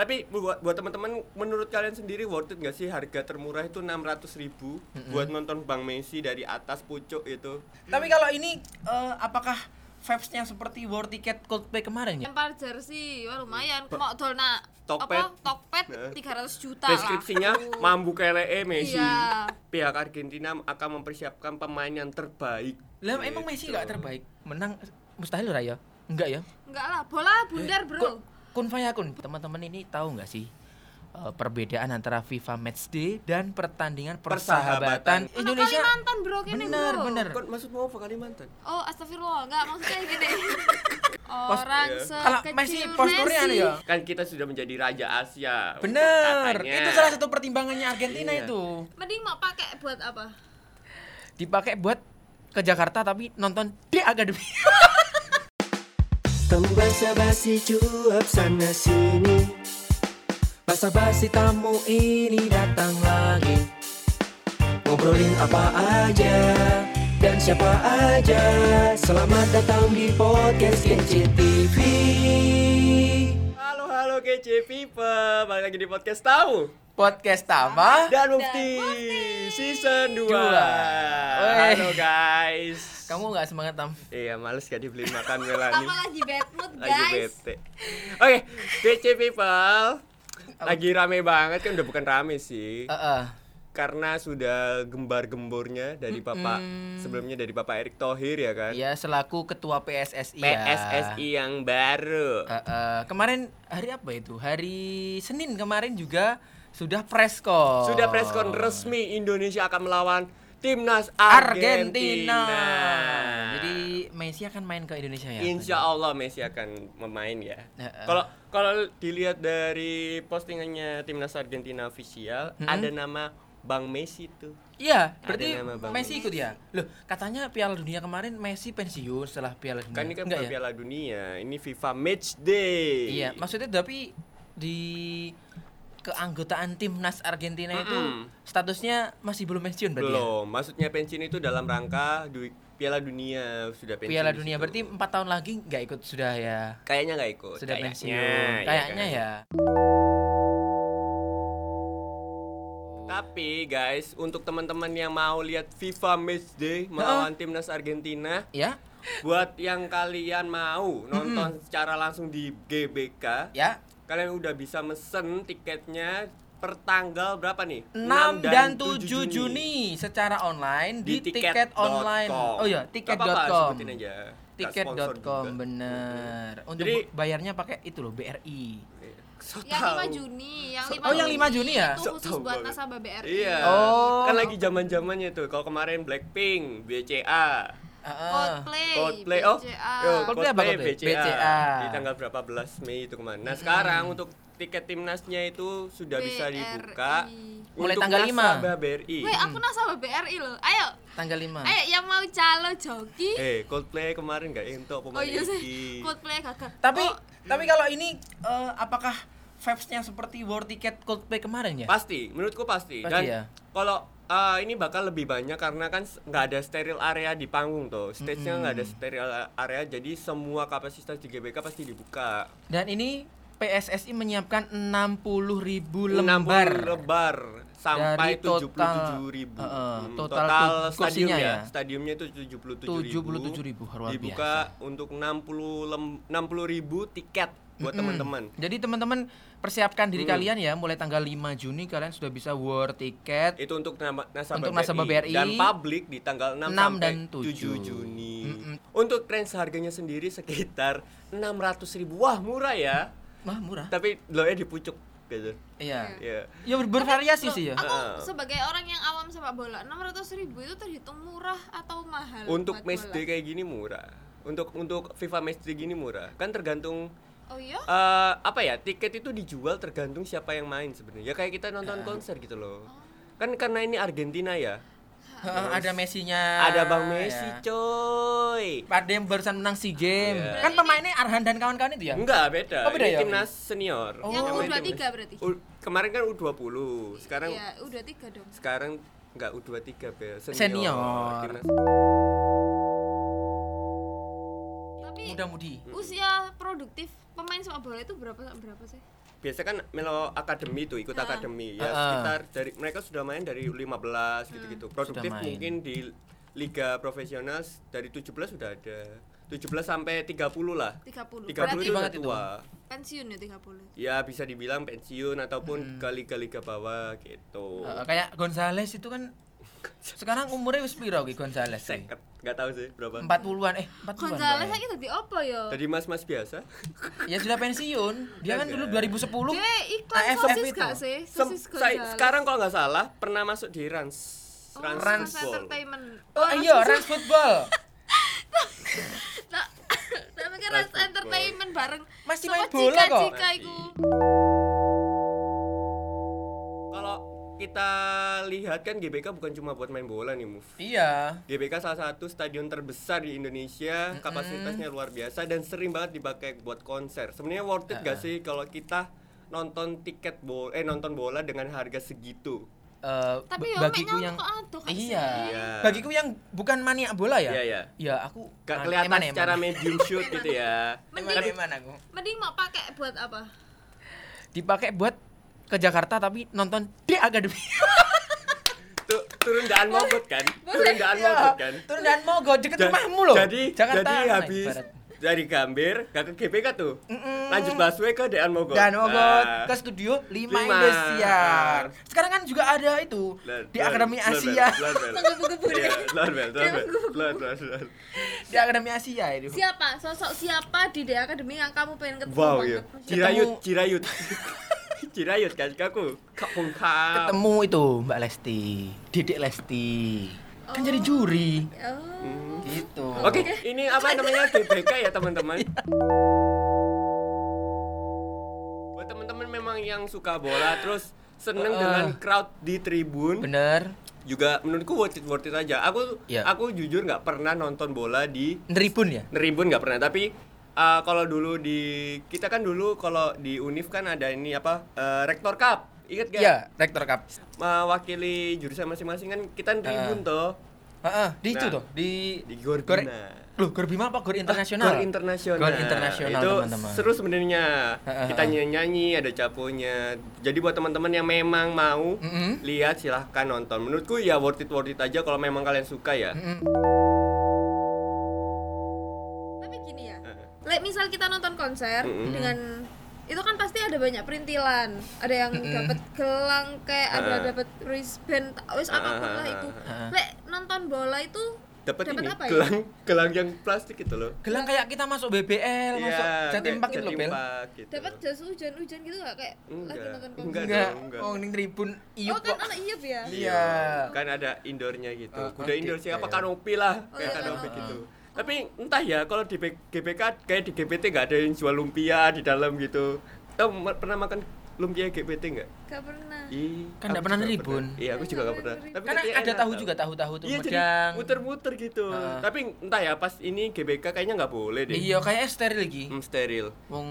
Tapi buat buat teman-teman menurut kalian sendiri worth it gak sih harga termurah itu 600.000 ribu buat nonton Bang Messi dari atas pucuk itu? Tapi kalau ini eh, apakah vibes-nya seperti war ticket Coldplay kemarin ya? lempar jersey wah lumayan mau dol nak Iya. Tokped. apa tokpet Nah. 300 juta lah. Deskripsinya mambu kelee Messi. Iya. Pihak Argentina akan mempersiapkan pemain yang terbaik. Lah Gitu. emang Messi enggak terbaik? Menang mustahil lah ya? Enggak ya? enggak lah bola Eh, bundar bro Kun, kun fayakun. Teman-teman ini tahu nggak sih eh, perbedaan antara FIFA Matchday dan pertandingan persahabatan, Persahabatan. Indonesia? Kalimantan bro kene Bener, bro bener. Kon maksudmu apa Kalimantan? oh astagfirullah enggak maksudnya gini orang Iya. sekecil Kalau Messi posturnya anu ya. Kan kita sudah menjadi raja Asia. Bener. katanya. Itu salah satu pertimbangannya Argentina Iya. itu. mending mau pakai buat apa Dipakai buat ke Jakarta tapi nonton di Akademi. Tamu basa-basi cuap sana sini Basa-basi tamu ini datang lagi Ngobrolin apa aja dan siapa aja Selamat datang di podcast KCTV Halo halo kece people, balik lagi di podcast tahu Podcast apa? dan Mufti season 2. Dua. Wey. Halo guys. Kamu nggak semangat tam? Iya, males gak dibeliin makan Melani. aku lagi bad mood lagi guys bete. Oke, kece people. Lagi rame banget kan udah bukan rame sih. Eh, eh. Karena sudah gembar-gembornya dari Bapak sebelumnya dari Bapak Erick Thohir ya kan. Iya selaku ketua PSSI. ya. PSSI yang baru. Eh, eh, kemarin hari apa itu? Hari Senin kemarin juga sudah preskon. Sudah preskon resmi Indonesia akan melawan timnas Argentina. Argentina. Jadi Messi akan main ke Indonesia ya. Insya Allah Messi akan memain ya. Heeh. Kalau kalau dilihat dari postingannya timnas Argentina official ada nama Bang Messi tuh. Ada Iya, berarti nama Bang Messi ikut ya. Loh, katanya Piala Dunia kemarin Messi pensiun setelah Piala Dunia. Kan ini kan Enggak ya? bukan Piala Dunia, ini FIFA Match Day. Iya, maksudnya tapi di keanggotaan timnas Argentina itu statusnya masih belum pensiun berarti. ya? Belum, maksudnya pensiun itu dalam rangka du- Piala Dunia sudah pensiun. Piala di Dunia situ. berarti empat tahun lagi nggak ikut sudah ya. kayaknya nggak ikut. Sudah Kayaknya, pensiun. iya Kayaknya kan? ya. Tapi guys, untuk teman-teman yang mau lihat FIFA Match Day melawan timnas Argentina, Ya, buat yang kalian mau nonton secara langsung di GBK, ya. kalian udah bisa mesen tiketnya per tanggal berapa nih? 6 dan 7 Juni, secara online di, tiket, online. Oh iya, tiket.com. Tiket.com bener. Untuk Jadi- bayarnya pakai itu loh BRI. yang 5 Juni yang So- 5 oh, yang 5 Juni ya? itu So khusus tahu buat banget. nasabah BRI Iya. Oh. Kan lagi zaman-zamannya tuh. Kalau kemarin Blackpink, BCA, Heeh. Coldplay Coldplay oh BCA. yo, Coldplay apa Coldplay? BCA. BCA. di tanggal berapa belas Mei itu kemarin nah sekarang Hmm. untuk tiket timnasnya itu sudah bisa BRI. dibuka Mulai untuk tanggal lima. nasabah BRI Weh, Hmm. aku nasabah BRI loh. Ayo, Tanggal 5. ayo yang mau calo joki. eh Coldplay kemarin nggak Eh, entok pemain oh iya iki. sih, Coldplay gagal. Tapi Oh, tapi kalau ini eh, apakah vibes-nya seperti war ticket Coldplay kemarin ya? pasti menurutku pasti, Pasti dan ya. kalau eh, ini bakal lebih banyak karena kan s- nggak ada steril area di panggung tuh stage-nya nggak ada steril area jadi semua kapasitas di GBK pasti dibuka Dan ini PSSI menyiapkan 60.000 lembar lembar. lebar sampai Dari total- tujuh puluh tujuh ribu Eh, eh, total kursinya stadiumnya ya ya. stadiumnya itu tujuh puluh tujuh 77.000, luar dibuka untuk enam puluh ribu tiket buat teman-teman Jadi teman-teman persiapkan diri Hmm. kalian ya mulai tanggal 5 Juni kalian sudah bisa war tiket. itu untuk nama- nasabah, Untuk nasabah BRI. dan publik di tanggal 6, Enam sampai dan 7 tujuh. Juni. Untuk range harganya sendiri sekitar 600.000. Wah, murah ya. Wah, murah. Tapi lo ya dipucuk gitu. Iya. Ya. Ya ber- bervariasi sih ya. aku sebagai orang yang awam sepak bola, 600.000 ribu itu terhitung murah atau mahal? Untuk buat match bola? day kayak gini murah. Untuk untuk FIFA match day gini murah. Kan tergantung Oh iya? eh apa ya tiket itu dijual tergantung siapa yang main sebenarnya ya kayak kita Nah. nonton konser gitu loh kan karena ini Argentina ya Heeh, ada Messinya. ada Bang Messi ya. coy Pada yang barusan menang SEA Games. Iya. Hmm. Kan pemainnya Arhan dan kawan-kawan itu ya? enggak beda, Oh, beda ini ya? timnas senior Oh. Yang Namanya U23 timnas- berarti? U- kemarin kan U20 sekarang Iya, udah tiga dong. sekarang enggak U23 Bel senior, Senior. Timnas. Tapi Muda-mudi. usia produktif pemain sepak bola itu berapa berapa sih? biasa kan melo akademi tuh ikut Ah. akademi ya Ah, ah. sekitar dari mereka sudah main dari Hmm. 15 gitu-gitu. Produktif main. mungkin di liga profesional s- dari 17 sudah ada. 17 sampai 30 lah. 30. 30 Berarti itu udah banget itu. tua. pensiun ya Iya, 30. Ya bisa dibilang pensiun Hmm. ataupun ke liga-liga bawah gitu. Eh, kayak Gonzales itu kan sekarang umurnya wis piro ki Gonzales? ki? Seket, nggak tahu sih berapa. 40-an eh 40-an. Gonzales Pak, ya? lagi tadi apa ya? Tadi mas-mas biasa. Ya sudah pensiun. Dia kan dulu 2010. Dia iklan AFF sosis itu. gak sih? Sem- Sosis saya- Gonzales. sekarang kalau nggak salah pernah masuk di Rans Oh, Rans, Rans Football. Entertainment. Oh iya, Rans Football. Tapi kan Rans Football. Entertainment bareng Masih main sama bola kok. Cika-Cika iku. Kalau kita lihat kan GBK bukan cuma buat main bola nih Muf. Iya. GBK salah satu stadion terbesar di Indonesia, kapasitasnya luar biasa dan sering banget dipakai buat konser. Sebenarnya worth it gak sih kalau kita nonton tiket bola eh nonton bola dengan harga segitu? Eh, Tapi b- yo bagiku meknya yang kok aduh, Kak Iya. Sri. Iya. Bagiku yang bukan maniak bola ya. Iya, iya. Ya aku Gak man- kelihatan eman, eman. secara medium shoot gitu ya. Eman, Mending- eman aku. Mending mau pakai buat apa? Dipakai buat ke Jakarta tapi nonton di akademi. Tu- turun daan mogot kan? Turun daan mogot Iya. kan? Turun dan mogok Iya. deket Ja- rumahmu loh. Jadi Jakarta jadi mana habis ibarat? dari Gambir gak ke GBK tuh. Lanjut busway ke Dean Mogot. Dan mogok Nah. ke studio Lima. 5 Indosiar. Sekarang kan juga ada itu Lord- di Lord- Akademi Lord Asia. Bell, Lord Bell. Menggebu-gebu deh. Iya, Lord Bell, Lord Bell, Lord Bell, Lord Bell. Di Akademi Asia itu. Siapa? Sosok siapa di DA Akademi yang kamu pengen ketemu? Wow, banget? ya. Cirayut, iya. Ketemu- Cirayut. Cirayut kan kaku. Kapung kap. Ketemu itu Mbak Lesti, Dedek Lesti. Kan jadi juri. Oh. Gitu. Oke, ini apa namanya GBK ya teman-teman. Iya. Buat teman-teman memang yang suka bola terus seneng Uh-uh. dengan crowd di tribun. Bener. juga menurutku worth it worth it aja aku Iya. aku jujur nggak pernah nonton bola di Neribun ya? Neribun nggak pernah tapi uh, kalau dulu di kita kan dulu kalau di Unif kan ada ini apa uh, rektor cup ingat gak Iya, Rektor Cup. mewakili jurusan masing-masing kan kita Ah. Neribun toh Heeh, di itu Nah, tuh, di di Gor Gor- Bima. Loh, Gor Bima apa Gor Internasional? Gor internasional. Gor Internasional, Itu teman-teman. Ah, seru sebenarnya. Heeh, Kita nyanyi-nyanyi ada caponya. Jadi buat teman-teman yang memang mau Mm-mm. lihat silahkan nonton. Menurutku ya worth it worth it aja kalau memang kalian suka ya. Tapi gini ya. Like misal kita nonton konser dengan itu kan pasti ada banyak perintilan. Ada yang dapat gelang kayak ada Ah. dapat wristband, ta- wis apapun lah itu. Ah. Lek nonton bola itu Dapat Dapat ini apa ya? gelang gelang yang plastik gitu loh. Iya, Gelang kayak kita masuk BBL, masuk Jatim Park gitu loh, Bel. gitu. dapat jas hujan-hujan gitu nggak kayak lagi Enggak. nonton Enggak konser. Enggak, dong, enggak. oh ini tribun Oh iup kan kok. anak iyep ya. Iya. Kan ada indoornya gitu. Eh, Kuda eh, indoor di- siapa eh. kanopi lah, Oh, kayak iya, kanopi kanopi. gitu. Tapi entah ya kalau di B- GBK kayak di GPT nggak ada yang jual lumpia di dalam gitu. Tahu ma- pernah makan lumpia GPT nggak? Gak pernah. Ih, Kan nggak aku pernah juga neribun. Iya, aku juga nggak pernah. Tapi Karena katanya ada enak tahu tau. juga, tahu-tahu tuh Iya, jadi medang. muter-muter gitu. Heeh. Tapi entah ya pas ini GBK kayaknya nggak boleh deh. Iya, kayak steril lagi. Hmm, steril. Wong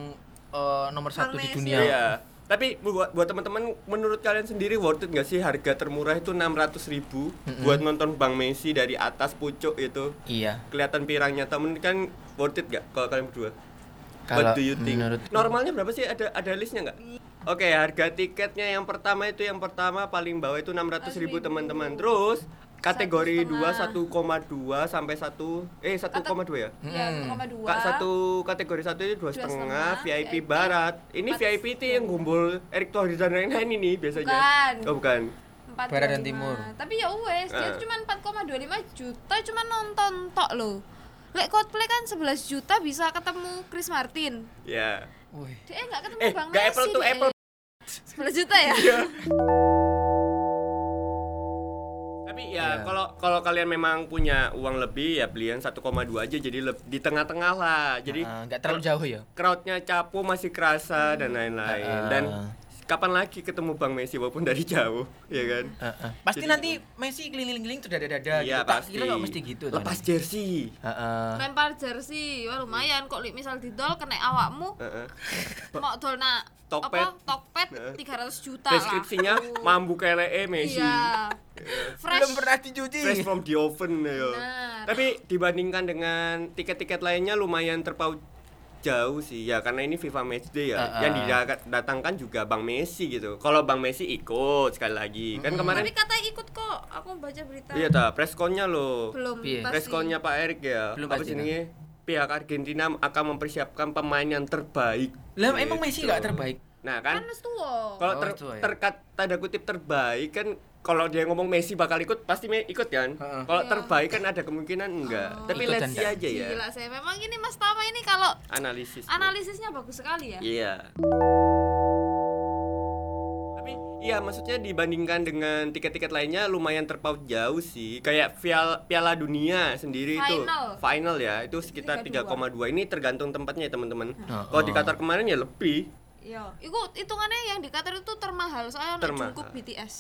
eh, nomor satu di Farmasi. dunia. Iya. Tapi buat buat teman-teman menurut kalian sendiri worth it nggak sih harga termurah itu 600.000 ribu buat nonton Bang Messi dari atas pucuk itu Iya. kelihatan pirangnya temen kan worth it gak kalau kalian berdua? Kalau What do you think? menurut- Normalnya berapa sih ada ada listnya nggak? Oke harga tiketnya yang pertama itu yang pertama paling bawah itu 600.000 ribu teman-teman terus kategori 2 1,2 sampai 1 eh 1,2 ya? Ya, 1,2. Kak satu kategori satu itu dua setengah, VIP barat. Ini VIP itu yang gumbul Erick Thohir dan lain-lain ini biasanya. Bukan. Oh bukan. Empat Barat koma dan lima. Timur. Tapi ya wes, dia Ah. cuma 4,25 juta cuma nonton tok loh. Lek Coldplay kan 11 juta bisa ketemu Chris Martin. Ya. Wih. Dia nggak ketemu Eh, Bang nggak Messi. Apple to dia. Apple. Iya. 11 juta ya? Tapi ya kalau kalau kalian memang punya uang lebih ya beli yang 1,2 aja jadi leb- di tengah-tengah lah. Jadi Ah, nggak terlalu jauh ya. crowdnya capu masih kerasa dan lain-lain. Ah. Dan kapan lagi ketemu Bang Messi walaupun dari jauh, ya kan? Heeh. Ah, Pasti nanti Messi keliling-keliling tuh Iya dada-dada gitu. Tak pasti. kira nggak mesti gitu. Ton. Lepas jersey. Heeh. Lempar jersey, wah lumayan kok Lek. misal didol kena awakmu Heeh. mau dol na Tokpet. apa tokpet Heeh. 300 Eh. juta lah. Deskripsinya mambu kelee Messi. Iya. Belum Fresh. pernah dicuci. fresh from the oven ya. Benar. Tapi dibandingkan dengan tiket-tiket lainnya lumayan terpaut jauh sih ya karena ini FIFA Matchday ya Ah, ah. yang didatangkan juga Bang Messi gitu kalau Bang Messi ikut sekali lagi kan kemarin Hmm. Tapi katanya ikut kok. Aku baca berita. iya ta preskonnya loh Belum. Piye? pasti. preskonnya Pak Erik ya Belum apa pasti, nah. jenenge? pihak Argentina akan mempersiapkan pemain yang terbaik Lah emang Messi Gitu. nggak terbaik? nah Kan kan wis tuwa. kalau Oh, ter itu ya. terkat tanda kutip terbaik kan kalau dia ngomong Messi bakal ikut pasti me- ikut kan Heeh. kalau Iya. Oh. terbaik kan ada kemungkinan enggak tapi Ikut let's see dan- aja ya Gila ya? saya memang ini Mas Tama ini kalau analisis tuh. analisisnya bagus sekali ya. Iya. Tapi iya maksudnya dibandingkan dengan tiket-tiket lainnya lumayan terpaut jauh sih. Kayak Piala, Piala Dunia sendiri itu Final. final ya itu sekitar 3,2. 3,2. Ini tergantung tempatnya ya teman-teman. Oh, Kalau di oh. Qatar kemarin ya lebih. Iya. Iku hitungannya yang di Qatar itu termahal soalnya Termahal. termahal. cukup BTS.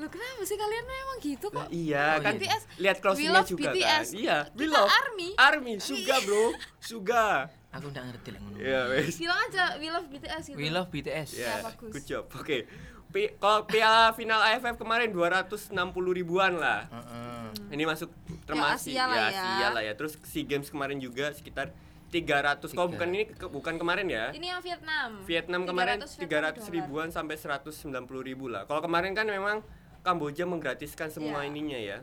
Loh kenapa sih kalian memang gitu kok? Lah, iya Oh, kan iya. BTS. lihat We closingnya love juga BTS. kan. Iya, we Kita love ARMY. Iya. Army, Suga bro, Suga. Aku nggak ngerti lah ngono. Iya wes. Bilang aja we love BTS gitu. We love BTS. Ya, bagus. good job. Oke. Pi- Kalau piala final AFF kemarin 260 ribuan lah. Heeh. Ini masuk termasuk Hmm. Asia lah ya, ya. Asia lah ya. Terus SEA Games kemarin juga sekitar 300. Kalau Tiga. bukan ini ke- bukan kemarin ya. Ini yang Vietnam. Vietnam kemarin 300 dollar. ribuan sampai 190 ribu lah. Kalau kemarin kan memang Kamboja menggratiskan semua Iya. ininya ya.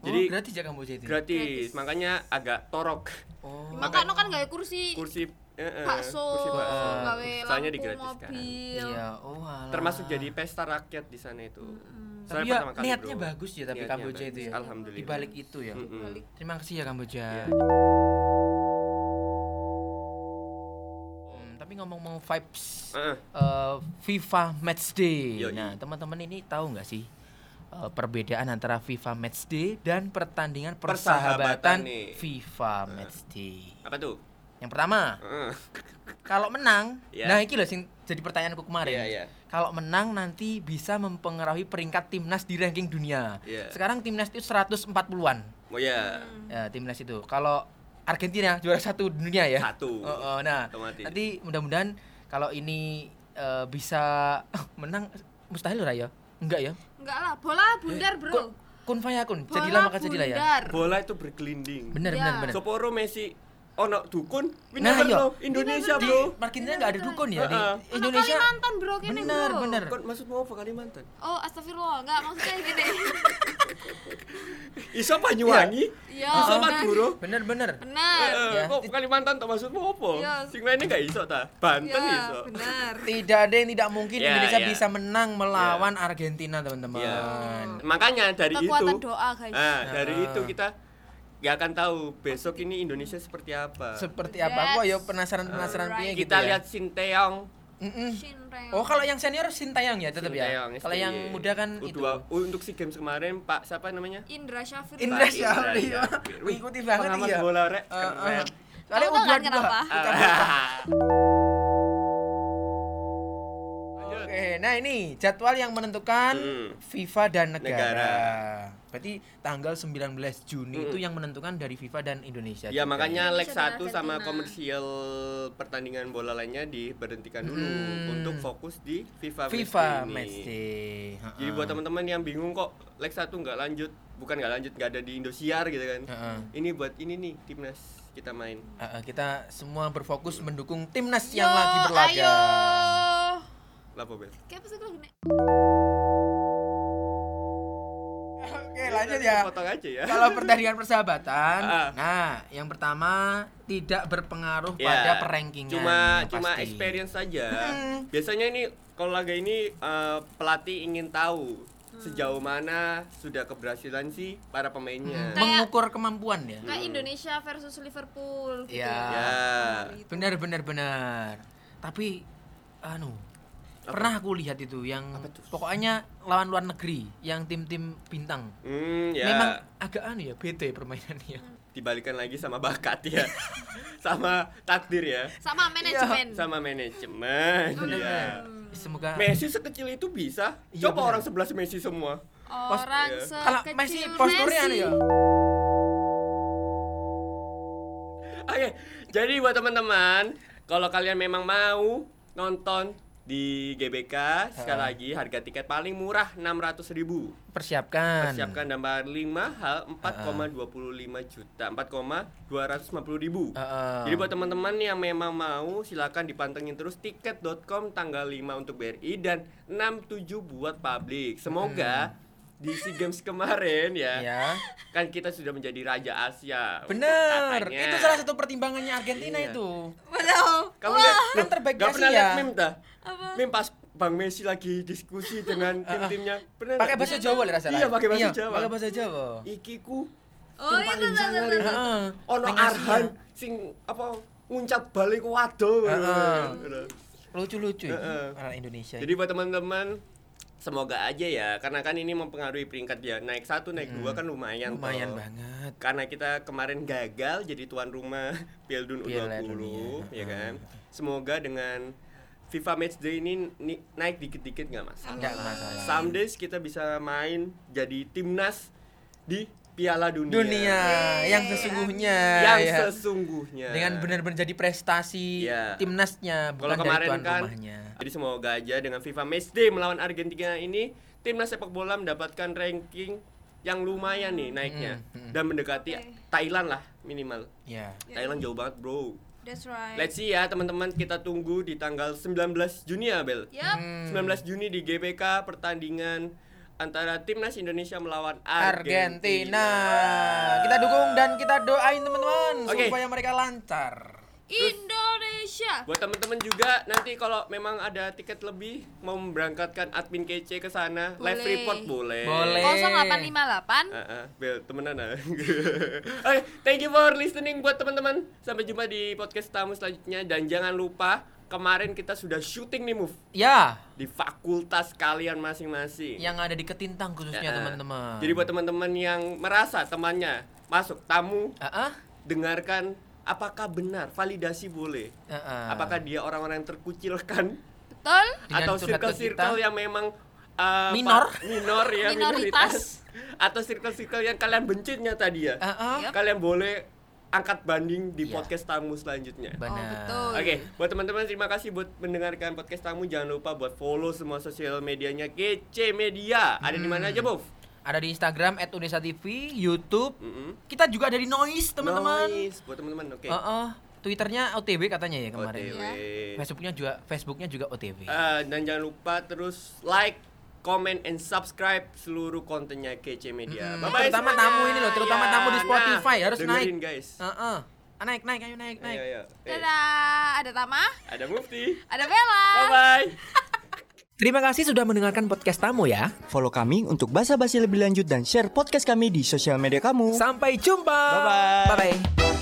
Jadi Jadi gratis. gratis ya Kamboja itu. makanya agak torok Oh. Emang kan kan gawe kursi, kursi eh, eh, bakso, kursi bakso. gawe Soalnya lampu digratiskan. mobil. Iya, oh alah. Termasuk jadi pesta rakyat di sana itu. Saya tapi ya, pertama kali, niatnya bro. bagus ya tapi Niatnya Kamboja itu bagus, ya. Alhamdulillah. Di balik itu ya. Mm-mm. Balik. Terima kasih ya Kamboja. Iya. Hmm, tapi ngomong mau vibes Eh, eh. eh, FIFA Matchday. Yoi. Nah, teman-teman ini tahu nggak sih eh, perbedaan antara FIFA Matchday dan pertandingan Persahabatan persahabatan, nih. FIFA Matchday? Apa tuh? Yang pertama, Eh. kalau menang, Iya. nah iki loh sing jadi pertanyaanku kemarin. Iya, iya. Kalau menang nanti bisa mempengaruhi peringkat timnas di ranking dunia. Iya. Sekarang timnas itu 140-an. Oh ya, Ya, timnas itu. Kalau Argentina juara satu dunia ya. Satu. Oh, oh, nah, Otomatis. nanti mudah-mudahan kalau ini eh, bisa menang mustahil lah ya. Enggak ya. Enggak lah, bola bundar, Bro. Kun, kun faya kun. bola Jadilah maka jadilah ya. bundar. bola itu bergelinding. Bener, Ya. bener, bener. Soporo Messi ono dukun we Nah, never iya. know. Indonesia Di bro Argentina enggak ada dukun ya di Heeh. Ono Indonesia. Kalimantan, Bro, kene, Bener, Bro. bener. Kon maksudmu apa Kalimantan? Oh, astagfirullah. Enggak maksudnya gini. Iso Banyuwangi, Iya. iso bener. Madura. Bener, bener. Bener. Eh, Ya. Kok Kalimantan tak maksudmu apa? Iya. Sing lainnya gak iso ta? Banten Iya, iso. bener. Tidak ada yang tidak mungkin Ya, Indonesia ya. bisa menang melawan Argentina, teman-teman. Iya. Makanya dari Kekuatan itu doa, guys. Nah, dari Heeh. itu kita gak akan tahu besok ini Indonesia seperti apa. Seperti apa? Gua Yes. ya penasaran-penasaran piye gitu kita ya. lihat Sinteong. Mm-mm. Shinreng. Oh kalau yang senior Sintayong ya tetap ya. Sinteyong, Kalau SBY. yang muda kan itu. U2, Oh, untuk SEA Games kemarin Pak siapa namanya? Indra Syafir. Indra Pak Indra Syafri. Syafri. Wih, Mengikuti banget pengamat iya. bola, Rek. Eh, eh. Kan Keren. Ah. Soalnya Tahu U22. kan kenapa? Kita- Lanjut. Oke, nah ini jadwal yang menentukan Hmm. FIFA dan negara. Negara. Berarti tanggal 19 Juni Hmm. itu yang menentukan dari FIFA dan Indonesia. Ya juga. makanya leg 1 Indonesia dan sama Argentina. komersial pertandingan bola lainnya diberhentikan dulu Hmm. untuk fokus di FIFA FIFA Matchday ini. Matchday. Jadi buat teman-teman yang bingung kok leg 1 nggak lanjut, bukan nggak lanjut nggak ada di Indosiar gitu kan. Heeh. Ini buat ini nih timnas kita main. Eh, eh, kita semua berfokus mendukung timnas Yo, yang lagi berlaga. Ayo. Lapo Bel? Kayak apa sih kalau gini? Oke, lanjut ya. Potong aja ya. Kalau pertandingan persahabatan, Ah. nah, yang pertama tidak berpengaruh Ya, pada perengkingan. Cuma yang cuma pasti. experience saja. Hmm. Biasanya ini kalau laga ini eh, pelatih ingin tahu sejauh mana sudah keberhasilan sih para Hmm. pemainnya. Kayak- mengukur kemampuan ya. Kayak Indonesia versus Liverpool gitu. Iya. Ya. Benar benar benar. Tapi anu pernah aku lihat itu yang pokoknya lawan luar negeri yang tim-tim bintang. Hmm, ya. Memang agak anu ya bete permainannya. Hmm. dibalikan lagi sama bakat ya sama takdir ya Sama manajemen. Iya, sama manajemen ya Semoga Messi sekecil itu bisa Ah. Iya, coba benar. orang sebelas Messi semua Iya. Orang sekecil kalau Messi posturnya anu Messi. ya. oke jadi buat teman-teman kalau kalian memang mau nonton di GBK sekali lagi harga tiket paling murah 600.000 ribu Persiapkan. persiapkan dan paling mahal 4,25 juta 4,250 ribu Heeh. jadi buat teman-teman yang memang mau silakan dipantengin terus tiket.com tanggal 5 untuk BRI dan 67 buat publik Hmm. semoga di SEA Games kemarin ya Ya. kan kita sudah menjadi raja Asia Bener. katanya. Itu salah satu pertimbangannya Argentina Iya. itu. Waduh. kamu lihat kan terbaik gak Asia. pernah lihat meme dah meme pas Bang Messi lagi diskusi dengan tim-timnya pernah nggak? Pakai bahasa Jawa lah rasanya. Iya, pakai bahasa Jawa. Pakai bahasa Jawa. iki ku Oh, sing iya, paling betul, sangar betul, ini. Heeh. ono Neng Asia. Arhan sing apa nguncap balik ku waduh Heeh. Lucu-lucu itu Heeh. orang Indonesia. jadi buat teman-teman semoga aja ya karena kan ini mempengaruhi peringkat ya naik satu naik dua kan lumayan lumayan toh. banget. karena kita kemarin gagal jadi tuan rumah Piala Piala U20 Dunia. Ah. ya kan semoga dengan FIFA Matchday ini ni- naik dikit-dikit nggak masalah Enggak masalah. Somedays kita bisa main jadi timnas di Piala Dunia. Dunia yang sesungguhnya Iya. yang ya. sesungguhnya. dengan benar-benar jadi prestasi Iya. timnasnya kalau bukan dari kemarin tuan kan. rumahnya. Jadi semoga aja dengan FIFA Matchday melawan Argentina ini timnas sepak bola mendapatkan ranking yang lumayan nih naiknya Mm, mm. dan mendekati Oke. Thailand lah minimal. Ya. Ya. Thailand jauh banget, Bro. That's right. Let's see ya teman-teman kita tunggu di tanggal 19 Juni ya, Bel. Yup. Hmm. 19 Juni di GBK pertandingan antara timnas Indonesia melawan Argentina. Argentina. Kita dukung dan kita doain teman-teman Oke. supaya mereka lancar. Indonesia. Buat temen-temen juga nanti kalau memang ada tiket lebih mau memberangkatkan admin kece ke sana, live Boleh. report boleh. Boleh. 0858. Heeh, Bel, temenan ah. Oke, thank you for listening buat teman-teman. Sampai jumpa di podcast tamu selanjutnya dan jangan lupa kemarin kita sudah syuting nih move Ya, di fakultas kalian masing-masing. yang ada di Ketintang khususnya Eh, eh. Iya, teman-teman. Jadi buat teman-teman yang merasa temannya masuk tamu, Ah, ah, dengarkan apakah benar validasi boleh. ah, ah. Apakah dia orang-orang yang terkucilkan Betul? Dengan atau curhat ke circle-circle kita. yang memang uh, Minor. pa- minor ya Minoritas. minoritas. atau circle-circle yang kalian bencinya tadi ya. Ah, ah. Yap. Kalian boleh angkat banding di Iya. podcast tamu selanjutnya. Benar. Oh, betul. Oke, buat teman-teman terima kasih buat mendengarkan podcast tamu. Jangan lupa buat follow semua sosial medianya Kece Media. Ada di mana aja, Bov? Ada di Instagram @unesa_tv, YouTube. Mm-mm. Kita juga ada di Noise, teman-teman. Noise buat teman-teman. Oke. Ah, ah. Twitternya OTW katanya ya kemarin. OTW. Facebooknya juga Facebooknya juga OTW. Eh, dan jangan lupa terus like, comment, and subscribe seluruh kontennya Kece Media. Hmm, Bye-bye terutama semuanya. tamu ini loh, terutama tamu di nah, Spotify harus dengerin, naik. guys. Ah, ah. Ah, naik naik ayo naik naik. Ayo, ayo. Eh, Dadah. Ada Tama, ada Mufti. ada Bella. Bye-bye. Terima kasih sudah mendengarkan podcast tamu ya. Follow kami untuk basa-basi lebih lanjut dan share podcast kami di sosial media kamu. Sampai jumpa. Iya. Bye-bye. Bye bye.